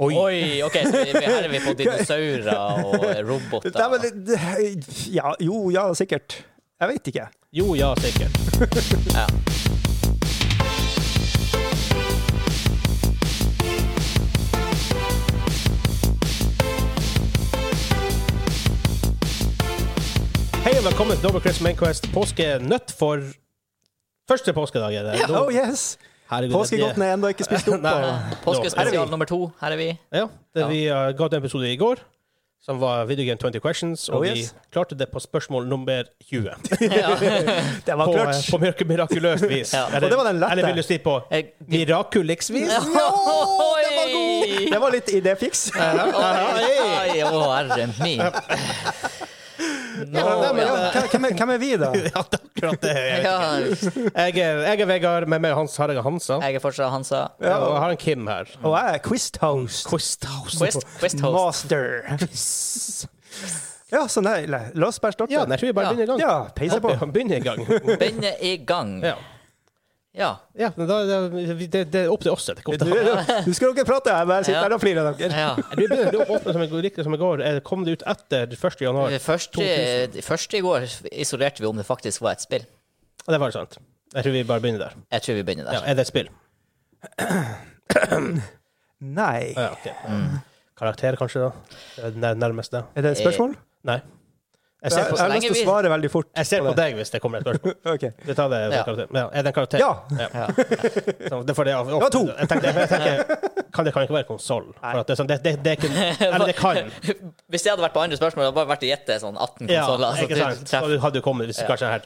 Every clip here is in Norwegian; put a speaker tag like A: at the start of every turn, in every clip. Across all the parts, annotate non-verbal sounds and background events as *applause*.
A: Oi.
B: Oi, OK, så vi, her er vi på dinosaurer og roboter.
A: Nei, men det- det- ja, Jo, ja, sikkert. Jeg vet ikke.
C: Jo, ja,
A: *laughs*
C: sikkert.
B: ja.
C: Hei og velkommen til Double Crisp Mainquest. Påskenøtt for første påskedag. er det. Nå-
A: Oh yes!
C: Herregud,
A: Påskegodten
C: det-
A: er ennå ikke spist opp.
C: Nei.
A: og- Her er
B: Påskespesial
A: vi.
B: nummer to. Her er vi.
C: Ja, det vi uh, ga ut en episode i går, som var Video Game 20 Questions, og
A: Oh,
C: vi
A: yes.
C: klarte det på spørsmål nummer 20.
B: Ja.
A: Det var
C: På, eh,
A: klart.
C: på mirk- mirakuløst
A: *laughs*
C: vis.
B: Ja.
C: Eller-
A: Og det var den lette.
C: Eller vil du si på
B: Jeg-
C: mirakulix vis? *laughs*
B: Ja.
A: Jo, det var god! Det var litt idéfiks.
B: Oi, oi, å, herre min. Nå,
A: Ja, men
B: ja.
A: ja, hvem, er- hvem er vi, da?
C: *laughs* Ja, det er akkurat det. Jeg,
B: Ja,
C: jeg, er- jeg er Vegard, med meg er Hans Harriga Hansa.
B: jeg er fortsatt Hansa.
C: Ja, Og jeg har en Kim her.
A: Og jeg er quiz-host.
B: Quest, Quest Host.
A: Master. Ja, så nei, la la oss bare starte.
C: Ja, nei, jeg tror vi bare
B: Ja.
C: begynner i gang.
A: Ja, peiser på.
C: Begynner-
A: *laughs*
C: Begynner i gang.
B: Den er i gang.
C: Ja.
B: Ja.
C: Ja, men da, da, vi- det, det er opp til oss. Det kommer
A: Du,
C: til å-
A: du skal dere prate, jeg bare sitter
B: Ja.
A: her og flirer av dere.
B: ja.
C: Du begynner å åpne som jeg, riktig som i går. Eh, Kom det ut etter 1. januar?
B: Først, først i går isolerte vi om det faktisk var et spill.
C: Ja, Det var sant. Jeg tror vi bare begynner der.
B: Jeg tror vi begynner der.
C: Ja, er det et spill?
A: Nei.
C: Ja, ok.
B: Mm.
C: Karakter, kanskje? da? Det er nær- Nærmest det.
A: Er det et spørsmål?
C: Nei.
A: Jeg,
C: Jeg ser på,
A: jeg har lyst til å svare veldig fort.
C: jeg ser på deg hvis det kommer et spørsmål.
A: Ok.
C: Vi tar det med
B: Ja.
C: karakter. Ja, er det en karakter?
A: Ja.
B: Ja.
C: Så Det, for det, er ofte-
A: var to.
C: Jeg tenker, jeg tenker, kan, det kan ikke være konsoll.
A: Nei.
C: Det, er sånn, det, det, det er ikke Eller det kan.
B: Hvis jeg hadde vært på andre spørsmål, hadde jeg bare vært å gjette sånn 18
C: Ja,
B: konsoller.
C: ikke sant? Så du hadde jo kommet hvis du kanskje er her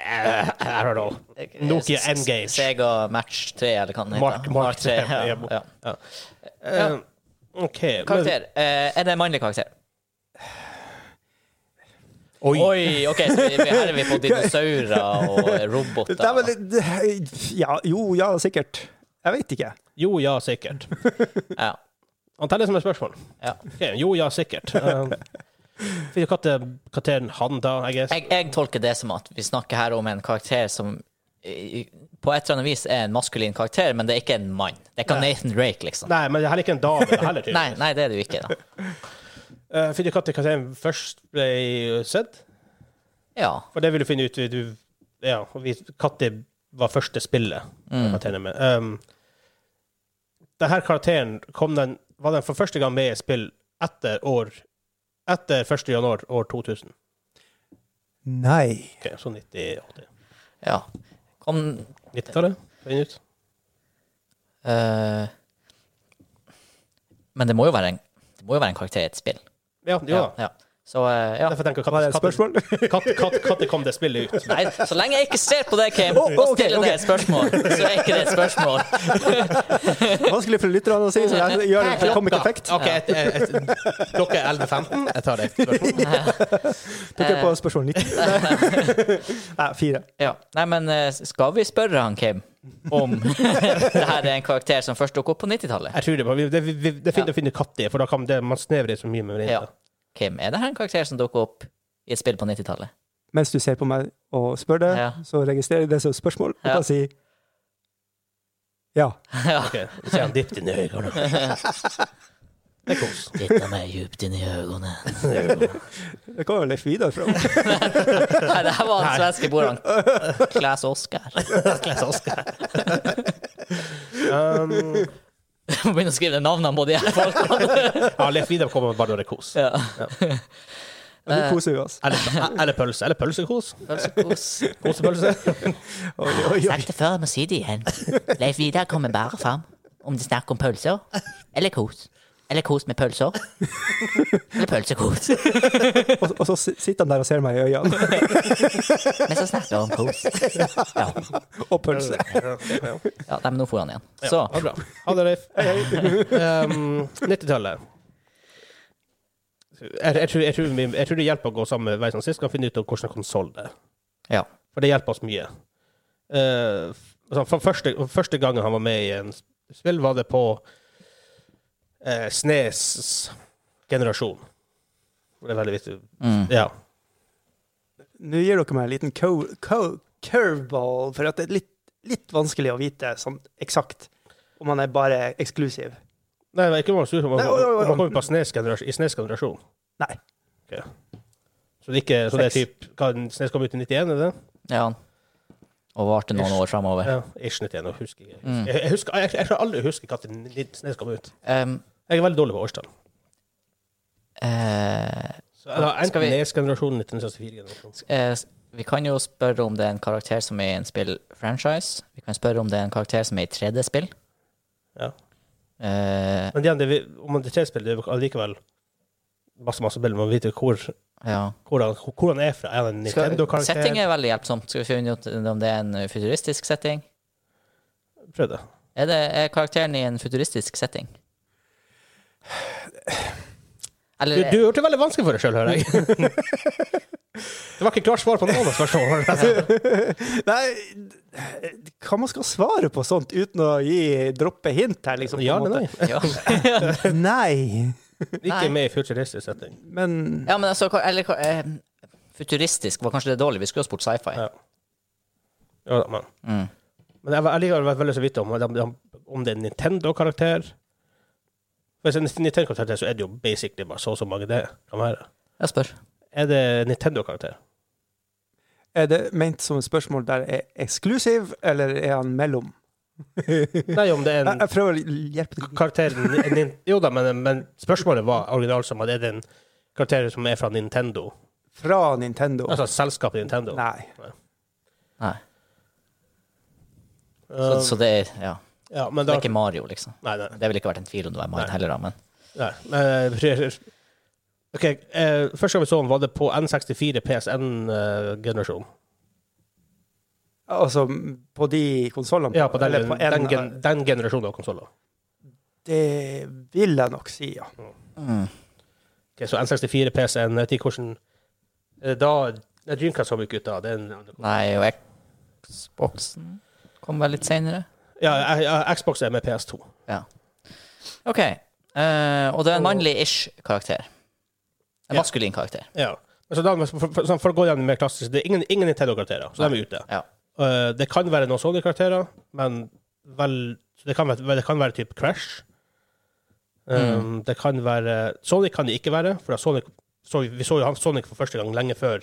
C: Eh, I don't know. Nokia N-Gage.
B: Sega Match 3, eller hva den heter.
C: Mark, Mark 3.
B: ja, ja.
C: Ja. Eh, OK. men-
B: Karakter. Eh, er det en mannlig karakter?
A: Oi.
B: Oi, OK, så vi, vi- her er vi på dinosaurer og roboter.
A: Nei, men det- det- ja, jo, ja, sikkert. Jeg vet ikke.
C: Jo, ja, sikkert.
B: ja,
C: Han teller som et spørsmål.
B: ja.
C: Ok, jo, ja, sikkert. Um, Vil du kalle karakteren han, da? I guess?
B: Jeg, jeg tolker det som at vi snakker her om en karakter som i- i- på et eller annet vis er en maskulin karakter, men det er ikke en mann. Det er ikke Nathan Drake, liksom.
C: Nei, men det er heller ikke en dame. det er heller
B: Nei, nei, det er det jo ikke. da
C: Uh, Vil du kalle karakteren først ble sett?
B: Ja.
C: For det vil du finne ut du, Ja, vi, Katti var første spillet. karakteren er Med. Um, denne karakteren kom den, var den for første gang med i et spill etter år etter 1. januar år 2000.
A: Nei.
C: Ok, så 90-80.
B: ja. Kom
C: 90-tallet? Finn ut.
B: eh, Men det må jo være en Det må jo være en karakter i et spill.
C: Ja, jo da.
B: ja. Så eh, ja.
C: Derfor tenker jeg
A: Var det
C: Katti-
A: et
B: *laughs*
A: spørsmål?
C: Katti- Katti- Katti kom det spillet ut.
B: Nei, så lenge jeg ikke ser på deg, Kim,
A: Å, å,
B: og
A: ok,
B: stiller
A: ok.
B: deg et spørsmål, så er ikke det et spørsmål.
A: Vanskelig for lytterne å si, så jeg gjør en comic effect.
C: *laughs* Ok, et, et, et, klokka er 11.15. Jeg tar det. spørsmålet.
A: Dere er på spørsmål 90. Nei, fire.
B: *laughs* Ja. Nei, men eh, skal vi spørre han, Kim, om *laughs* det her er en karakter som først dukket opp på 90-tallet?
C: *laughs* Jeg tror det, bare- vi- det, vi- vi- det er fint å finne Katti, for da kan det, man snevre det så mye med det.
B: Ja. Kim, er det her en karakter som dukket opp i et spill på 90-tallet?
A: Mens du ser på meg og spør det,
B: Ja.
A: så registrerer jeg det som et spørsmål og
B: Ja.
A: kan si ja.
B: Ja.
C: Ok, så er han dypt inn i øynene. Det er kos.
B: Titta meg djupt inn i øynene.
A: Det kommer jo Leif Vidar fra.
B: *laughs* Nei, det her var han svenske broren Klæs Oskar.
C: Les *laughs* Oscar. Um,
B: Må begynne å skrive navnene på de her folkene.
C: ja, Leif Vidar kommer bare når det er kos.
B: Ja.
A: Men Nå koser vi oss.
C: Eller, eller pølse. Eller pølsekos.
B: Pølsekos.
C: Kosepølse.
A: Oi, oi, oi.
B: Sagt det før, jeg må si det igjen. Leif Vidar kommer bare fram om det er snakk om pølser eller kos. Eller kos med pølser. Eller pølsekos.
A: Og, og så si- sitter han der og ser meg i øynene. *laughs*
B: Men så snakker vi om kos. Ja.
A: Og pølse.
B: ja, nei, men nå får han igjen. Så
C: Ha det bra. Ha det, Leif. Um, 90-tallet. Jeg, jeg, tror- jeg, tror vi- jeg tror det hjelper å gå samme vei som sist, kan finne ut av hvordan konsoll det er.
B: ja.
C: For det hjelper oss mye. Eh, sånn, for første, første gangen han var med i en spill, var det på eh, Snes generasjon. Det er veldig viktig.
B: Mm.
C: Ja.
A: Nå gir dere meg en liten co co curveball, for at det er litt, litt vanskelig å vite sånn eksakt om han er bare eksklusiv.
C: Nei, det var ikke Warren Studio. Man,
A: Nei, oi, oi, oi.
C: man kommer på SNES generasjon- i SNES generasjon.
A: Nei.
C: Ok. Så det, er ikke, så det er typ hva, SNES kom ut i 91, er det det?
B: Ja. Og varte noen år framover.
C: Ja, ish 91. og Husker jeg.
B: Mm.
C: Jeg, jeg, husker, jeg, jeg klarer aldri å huske når SNES kom ut.
B: Um,
C: Jeg er veldig dårlig på årstall.
B: eh,
C: Så jeg har
B: Skal
C: enten
B: vi-
C: NES-generasjonen 1964-generasjonen.
B: eh, vi kan jo spørre om det er en karakter som er i en spillfranchise. Vi kan spørre om det er en karakter som er i 3D-spill.
C: Ja.
B: Eh,
C: Men igjen, det, vi- om man detaljspiller, det er jo allikevel masse, masse bilder. Man vet jo hvor,
B: ja.
C: hvor, han, hvor han er fra. Er han en
B: Skal- Setting
C: Nintendo-karakter?
B: er veldig hjelpsomt. Skal vi finne ut om det er en eh, futuristisk setting?
C: Prøv det.
B: Er, det, er karakteren i en futuristisk setting?
C: Du,
B: Eller
C: du har gjort det veldig vanskelig for deg sjøl, hører jeg. det var ikke klart svar på noen av
B: *laughs*
C: spørsmålene.
A: *laughs* Nei, d- hva man skal svare på sånt uten å gi, droppe hint her, liksom? på
C: Ja
A: en
C: eller nei?
A: måte.
B: *laughs* ja.
A: *laughs* Nei.
B: Nei.
C: Ikke med i futuristisk setting.
A: Men
B: ja, men altså hva- eller, hva- eh, Futuristisk var kanskje det dårlige. Vi skulle ha spurt sci-fi.
C: Ja. Ja, da, men
B: Mm.
C: men jeg har likevel vært veldig så vidt om, om, om det er en Nintendo-karakter. Hvis det er en Nintendo-karakter, så er det jo basically bare så og så mange det kan være.
B: Jeg spør.
C: Er det en Nintendo-karakter?
A: er det ment som et spørsmål der er eksklusiv, eller er han mellom?
C: Nei, om det er
A: Jeg,
C: en
A: jeg prøver å hjelpe til.
C: karakteren nin, Jo da, men, men spørsmålet var originalt som at er det en karakter som er fra Nintendo?
A: Fra Nintendo?
C: Altså selskapet Nintendo?
A: Nei.
B: Nei. Så,
C: Um,
B: så det er ja.
C: ja, men
B: Det
C: da,
B: er ikke Mario, liksom.
C: Nei, nei.
B: Det ville ikke vært en tvil om det var Mario
C: Nei.
B: heller, da, men
C: nei men, eh, *laughs* OK, eh, første gang vi så den, var det på N64 PSN-generasjon.
A: Altså på de konsollene?
C: Ja, på den,
A: eller på en
C: den, gen,
A: av-
C: den generasjonen av konsoller.
A: Det vil jeg nok si, ja.
B: mm.
C: Ok, så N64, PSN, jeg vet ikke hvordan eh, Da nei, Dreamcast kom ikke ut da. Det er en,
B: Nei, og Xboxen kom vel litt seinere.
C: ja, eh, ja, Xbox er med PS2.
B: Ja. OK. eh, og det er en mannlig-ish karakter. En
C: Ja.
B: maskulin karakter.
C: Ja. Men Så da, for, for, sånn, for å gå gjennom mer klassisk, det er ingen, ingen Nintendo-karakterer, så de er ute.
B: Ja.
C: Eh, det kan være noen sånne karakterer, men vel Det kan være, det kan være type Crash.
B: Mm.
C: Um, Det kan være Sonic kan det ikke være, for da Sonic, så, vi så jo han Sonic for første gang lenge før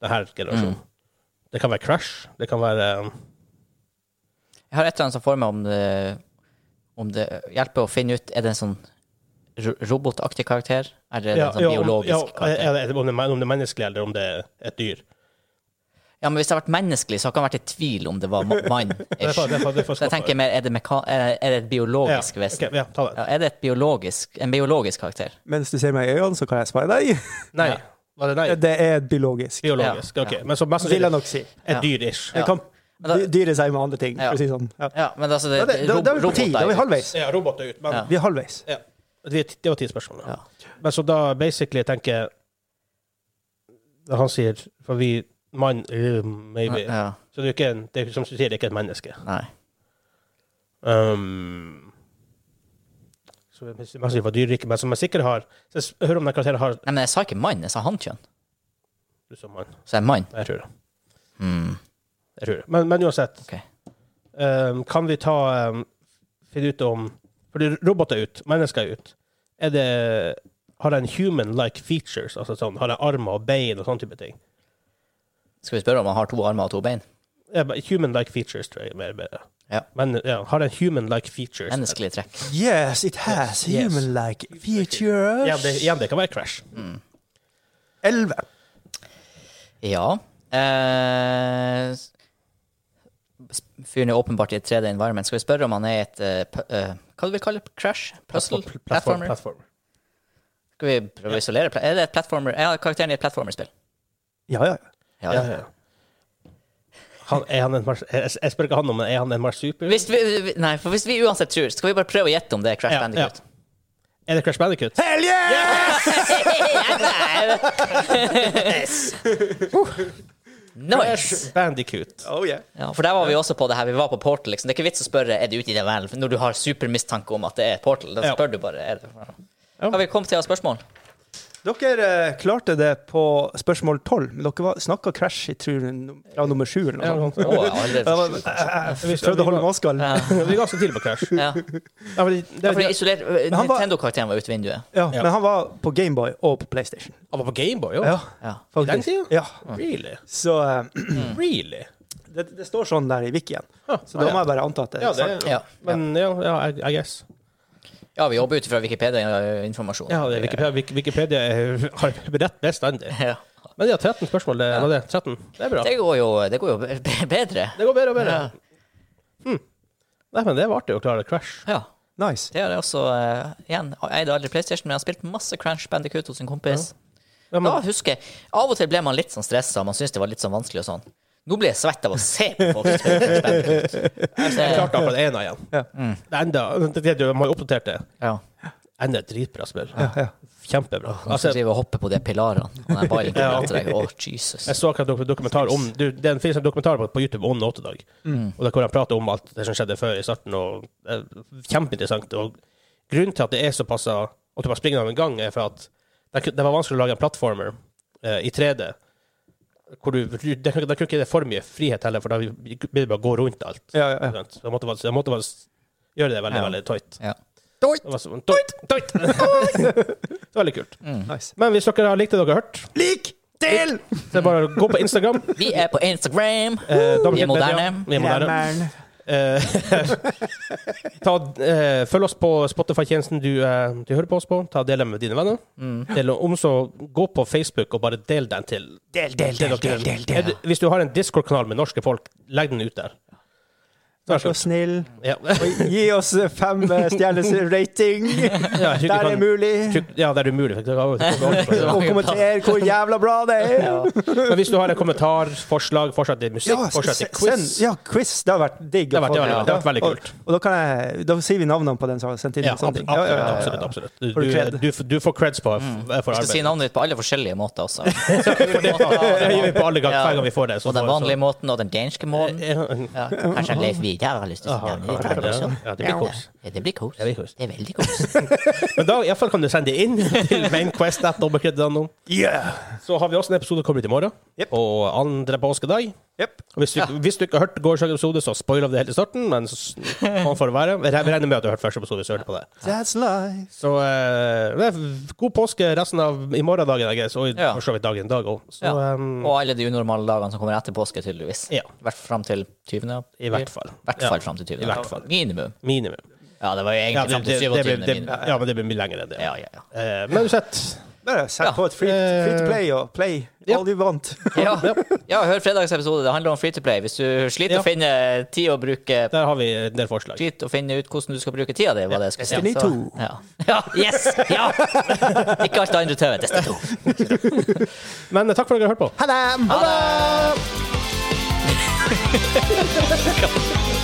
C: denne generasjonen.
B: Mm.
C: Det kan være Crash. Det kan være um,
B: Jeg har et eller annet som for meg om det, om det hjelper å finne ut Er det en sånn ro- robotaktig karakter? Er det
C: ja,
B: en sånn
C: ja, om-
B: biologisk
C: ja, eh,
B: karakter? Ja,
C: er det- om, det, er men- om det er menneskelig, eller om det er et dyr.
B: men Hvis det har vært menneskelig, så har jeg ikke vært i tvil om det var ma- mann.
C: Det er for- det er for- det er for
B: Så jeg tenker mer, er det, meka er er det et
C: ja,
B: biologisk vesen?
C: ok, ja, ta det.
B: Ja, er det et biologisk, en biologisk karakter?
A: Mens du ser meg i øynene, så kan jeg svare deg.
C: Nei. Var det nei?
A: Det er biologisk.
C: Biologisk.
B: Ja,
C: OK.
B: ja.
C: Men så mest
A: Vil jeg
C: sannsynlig
A: nok si.
B: Ja.
C: et dyr-ish.
A: Det
B: Ja.
A: kan
B: Men da-
A: dy- dyre seg med andre ting,
B: Ja.
A: for å si sånn. Ja.
B: Ja, men altså det,
A: Da, da, da er vi på ti. Da er vi halvveis.
C: Ja, roboter ut, men
B: Ja.
A: Vi er halvveis.
C: Ja. Det det var ti spørsmål. da.
B: Ja.
C: Men så da basically tenker jeg da Han sier For vi Mann øh, Maybe.
B: Ja,
C: Så det er jo ikke en, det er, jo som du sier, det er ikke et menneske.
B: nei.
C: Um, så jeg synes- jeg sier for dyreriket, men som jeg sikkert har så jeg s- Hør om den karakteren har
B: nei, men jeg sa ikke mann, jeg sa hankjønn.
C: Du som mann.
B: Så jeg er mann.
C: Jeg tror det.
B: Mm.
C: Jeg tror det. Men, men uansett
B: Ok.
C: um, Kan vi ta um, Finne ut om Fordi roboter er ut, mennesker er ut. Er det Har den human-like features? Altså sånn, Har den armer og bein og sånn type ting?
B: Skal vi spørre om han har to armer og to bein?
C: Ja, men Human-like features tror jeg er mer bedre.
B: Ja.
C: Men ja, har en human-like features.
B: Menneskelige trekk.
A: Yes, it has
C: Yes.
A: human-like
C: Ja,
A: features.
C: det, igjen, det kan være Crash.
A: Elleve.
B: Ja. Eh, s- fyren er åpenbart i et 3D-environment. Skal vi spørre om han er i et eh, pu- eh, Hva du vil kalle det? Crash? Puzzle?
C: Platform-
B: Platformer?
C: platformer.
B: Skal vi prøve å isolere pla- Er det et platformer? Ja, karakteren i et platformerspill.
A: Ja, ja.
B: Ja,
C: Ja,
B: ja.
C: ja. Han, er han en mars, jeg, jeg spør ikke han om, men er han en marsuper?
B: Hvis vi, vi- nei, for hvis vi uansett tror, skal vi bare prøve å gjette om det er Crash
C: Ja,
B: Bandicoot. *laughs*
C: Er det Crash Bandicoot?
A: Hell yeah!
C: *laughs*
B: Nice!
C: Bandicoot.
A: Oh, yeah.
B: Ja, for der var vi også på det her. Vi var på Portal. liksom. Det er ikke vits å spørre er det ute i den verden for når du har supermistanke om at det er et Portal. Da
C: Ja.
B: spør du bare. er det... Har vi kommet til å ha spørsmål?
A: Dere eh, klarte det på spørsmål 12, men dere snakka Crash i tur fra nummer 7 eller noe
C: sånn.
A: sånt.
B: Å, jeg har aldri
A: Jeg var- jeg- jeg- jeg prøvde å holde maska.
B: Ja.
C: Vi er ganske tidlig på Crash.
B: Ja.
C: Ja, fordi det,
B: Ja, fordi
C: det,
B: isolert
A: Men han var-
B: Nintendo-karakteren var ute vinduet.
A: Ja,
C: Ja.
A: men han var på Gameboy og på PlayStation.
C: han var på Gameboy òg?
A: Ja,
B: Ja.
C: I den
A: faktisk.
C: tida?
A: Ja.
C: Really?
A: Så eh,
B: Mm.
C: Really?
A: det, det står sånn der i wikien,
C: Huh.
A: så da må jeg bare anta at Ah, det
C: ja,
A: er
C: det,
A: sant.
B: Ja.
C: Men ja, ja I, I guess.
B: ja, vi jobber ut ifra Wikipedia-informasjon.
C: Ja, det er Wikipedia, Wik- Wikipedia er- *laughs* har beredt bestandig.
B: *laughs* Ja.
C: Men ja, 13 spørsmål. Det, var det. 13. det er bra.
B: Det går jo, det går jo be- be- bedre.
C: Det går bedre og bedre.
B: Ja.
C: Nei, men det var artig å klare Crash.
B: Ja.
A: Nice.
B: Det er det også eh, igjen. Jeg eide aldri PlayStation, men jeg har spilt masse Crunch Bandicoot hos en kompis.
C: Ja,
B: Da
C: men,
B: husker jeg, Av og til ble man litt sånn stressa, man syntes det var litt sånn vanskelig og sånn. Nå blir jeg svett av å se på folk. som spiller Crash
C: *laughs*
B: Bandicoot.
C: jeg
B: Det-
C: klarte akkurat én igjen.
A: Ja.
B: Mm.
C: Det er enda, det, det, man har jo oppdatert det.
B: Ja.
C: Enda et dritbra spill.
A: Ja, ja.
C: Kjempebra.
B: Man
C: Altså,
B: skal drive og hoppe på de pilarene og den ballen kommer etter deg. Å, Jesus.
C: jeg så akkurat dok- dokumentar om du, Det finnes en dokumentar på- på YouTube om Nåtedag,
B: Mm.
C: og der hvor han prater om alt det som skjedde før i starten. Og det er Kjempeinteressant. Og grunnen til at det er såpass eh, at du bare springer av en gang, er for at det, ku- det var vanskelig å lage en plattformer eh, i 3D. Hvor du, du- det, kunne- det kunne ikke det for mye frihet heller, for da blir det bare å gå rundt alt.
A: Ja, ja, ja.
C: ikke sant? Så jeg måtte bare, jeg måtte bare s- gjøre det veldig,
B: Ja.
C: veldig tight.
B: Ja.
C: Det var sånn, tight, tight. *laughs* det var veldig kult.
A: Nice.
C: Men hvis dere har likt det dere har hørt,
A: Lik! Del!
C: så er det bare å gå på Instagram.
B: Vi er på Instagram.
C: Eh, Dobbeltklikk
B: Vi er moderne.
C: Media. Vi er moderne. Eh, *laughs* ta, eh, følg oss på Spotify-tjenesten du, eh, du hører på oss på. Ta og Del den med dine venner.
A: Mm.
C: Del, om så gå på Facebook og bare del den til
A: Del, del,
C: til
A: del,
C: dere.
A: del, del,
C: Er
A: del.
C: du- Hvis du har en Discord-kanal med norske folk, legg den ut der.
A: Vær så snill.
C: Ja. *laughs*
A: Og gi oss fem eh, stjerners rating
C: Ja,
A: der
C: jeg tror ikke
A: det
C: kan-
A: er mulig.
C: tror- Ja, det er umulig. for det er-
A: *laughs* Og kommenter hvor jævla bra det er.
C: Men hvis du har en kommentar, forslag, forslag til musikk,
A: Ja,
C: forslag til
A: se-
C: quiz
A: send- Ja, quiz. Det har vært digg.
C: Det
A: å
C: har
A: få
C: vært, det har
A: til.
C: vært veldig
A: Ja,
C: kult.
A: Og, og da, kan jeg, da sier vi navnene på den som har sendt inn.
C: Ja,
A: og sånne ting. Ja,
C: absolutt.
A: ja, ja, ja.
C: absolutt, absolutt. Du,
A: Får du
C: du,
A: cred? Mm.
C: du, f- du får creds på, f- for
B: Vi skal si
C: arbeidet.
B: navnet ditt på alle forskjellige måter
C: *laughs*
B: også.
C: Det *laughs* gjør vi på alle ganger,
B: Ja.
C: hver gang vi får det.
B: Og
C: så
B: den
C: får- så-
B: vanlige måten, og den danske måten. Ja,
C: Ja,
B: kanskje Leif Vidar har lyst til å si navnet ditt på det også.
C: ja, det blir kos.
B: Ja, det blir kos.
C: Det blir kos.
B: Det er veldig kos.
C: Men da i alle fall kan du sende det inn *laughs* til mainquest.no.
A: Yeah.
C: Så har vi også en episode som kommer ut i morgen,
A: Jep.
C: og andre påskedag.
A: Yep.
C: Og Hvis du, hvis du ikke har hørt gårsdagens episode, så spoiler vi det helt i starten. Men så-
B: *laughs*
C: sånn får det være. Vi regner med at du har hørt første episode hvis du hørte på det.
A: That's life.
C: Så eh, det er god påske resten av i morgendagen, I guess, og i-
B: Ja.
C: for så vidt dagen i dag òg. Så
B: Ja.
C: eh,
B: Og alle de unormale dagene som kommer etter påske, tydeligvis.
C: Ja.
B: I hvert fall fram til 20.
C: i hvert fall.
B: I hvert fall fram til 20.
C: I hvert fall.
B: Minimum.
C: Ja, minimum.
B: Ja, det var jo
C: Ja,
B: egentlig
C: det,
B: fram til
C: det, det,
B: 27.
C: blir- det,
B: minimum.
C: ja, men det blir mye lenger enn det.
B: Ja, ja, ja.
C: Eh, men uansett
A: Bare sett
B: Ja.
A: på et free, free to play og play
C: Ja.
A: all you want.
B: Ja, ja hør fredagens episode. Det handler om free to play. Hvis du sliter
C: Ja.
B: å finne tid å bruke
C: Der har vi en del forslag.
B: Sliter å finne ut hvordan du skal bruke tida di, var det jeg skulle si.
A: Destiny
B: Så-
A: 2.
B: Ja. *laughs* ja. Yes! Ja! Ikke alt det andre tøvet. Destiny 2.
C: Men eh, takk for at dere har hørt på.
A: Ha det!
B: Ha det!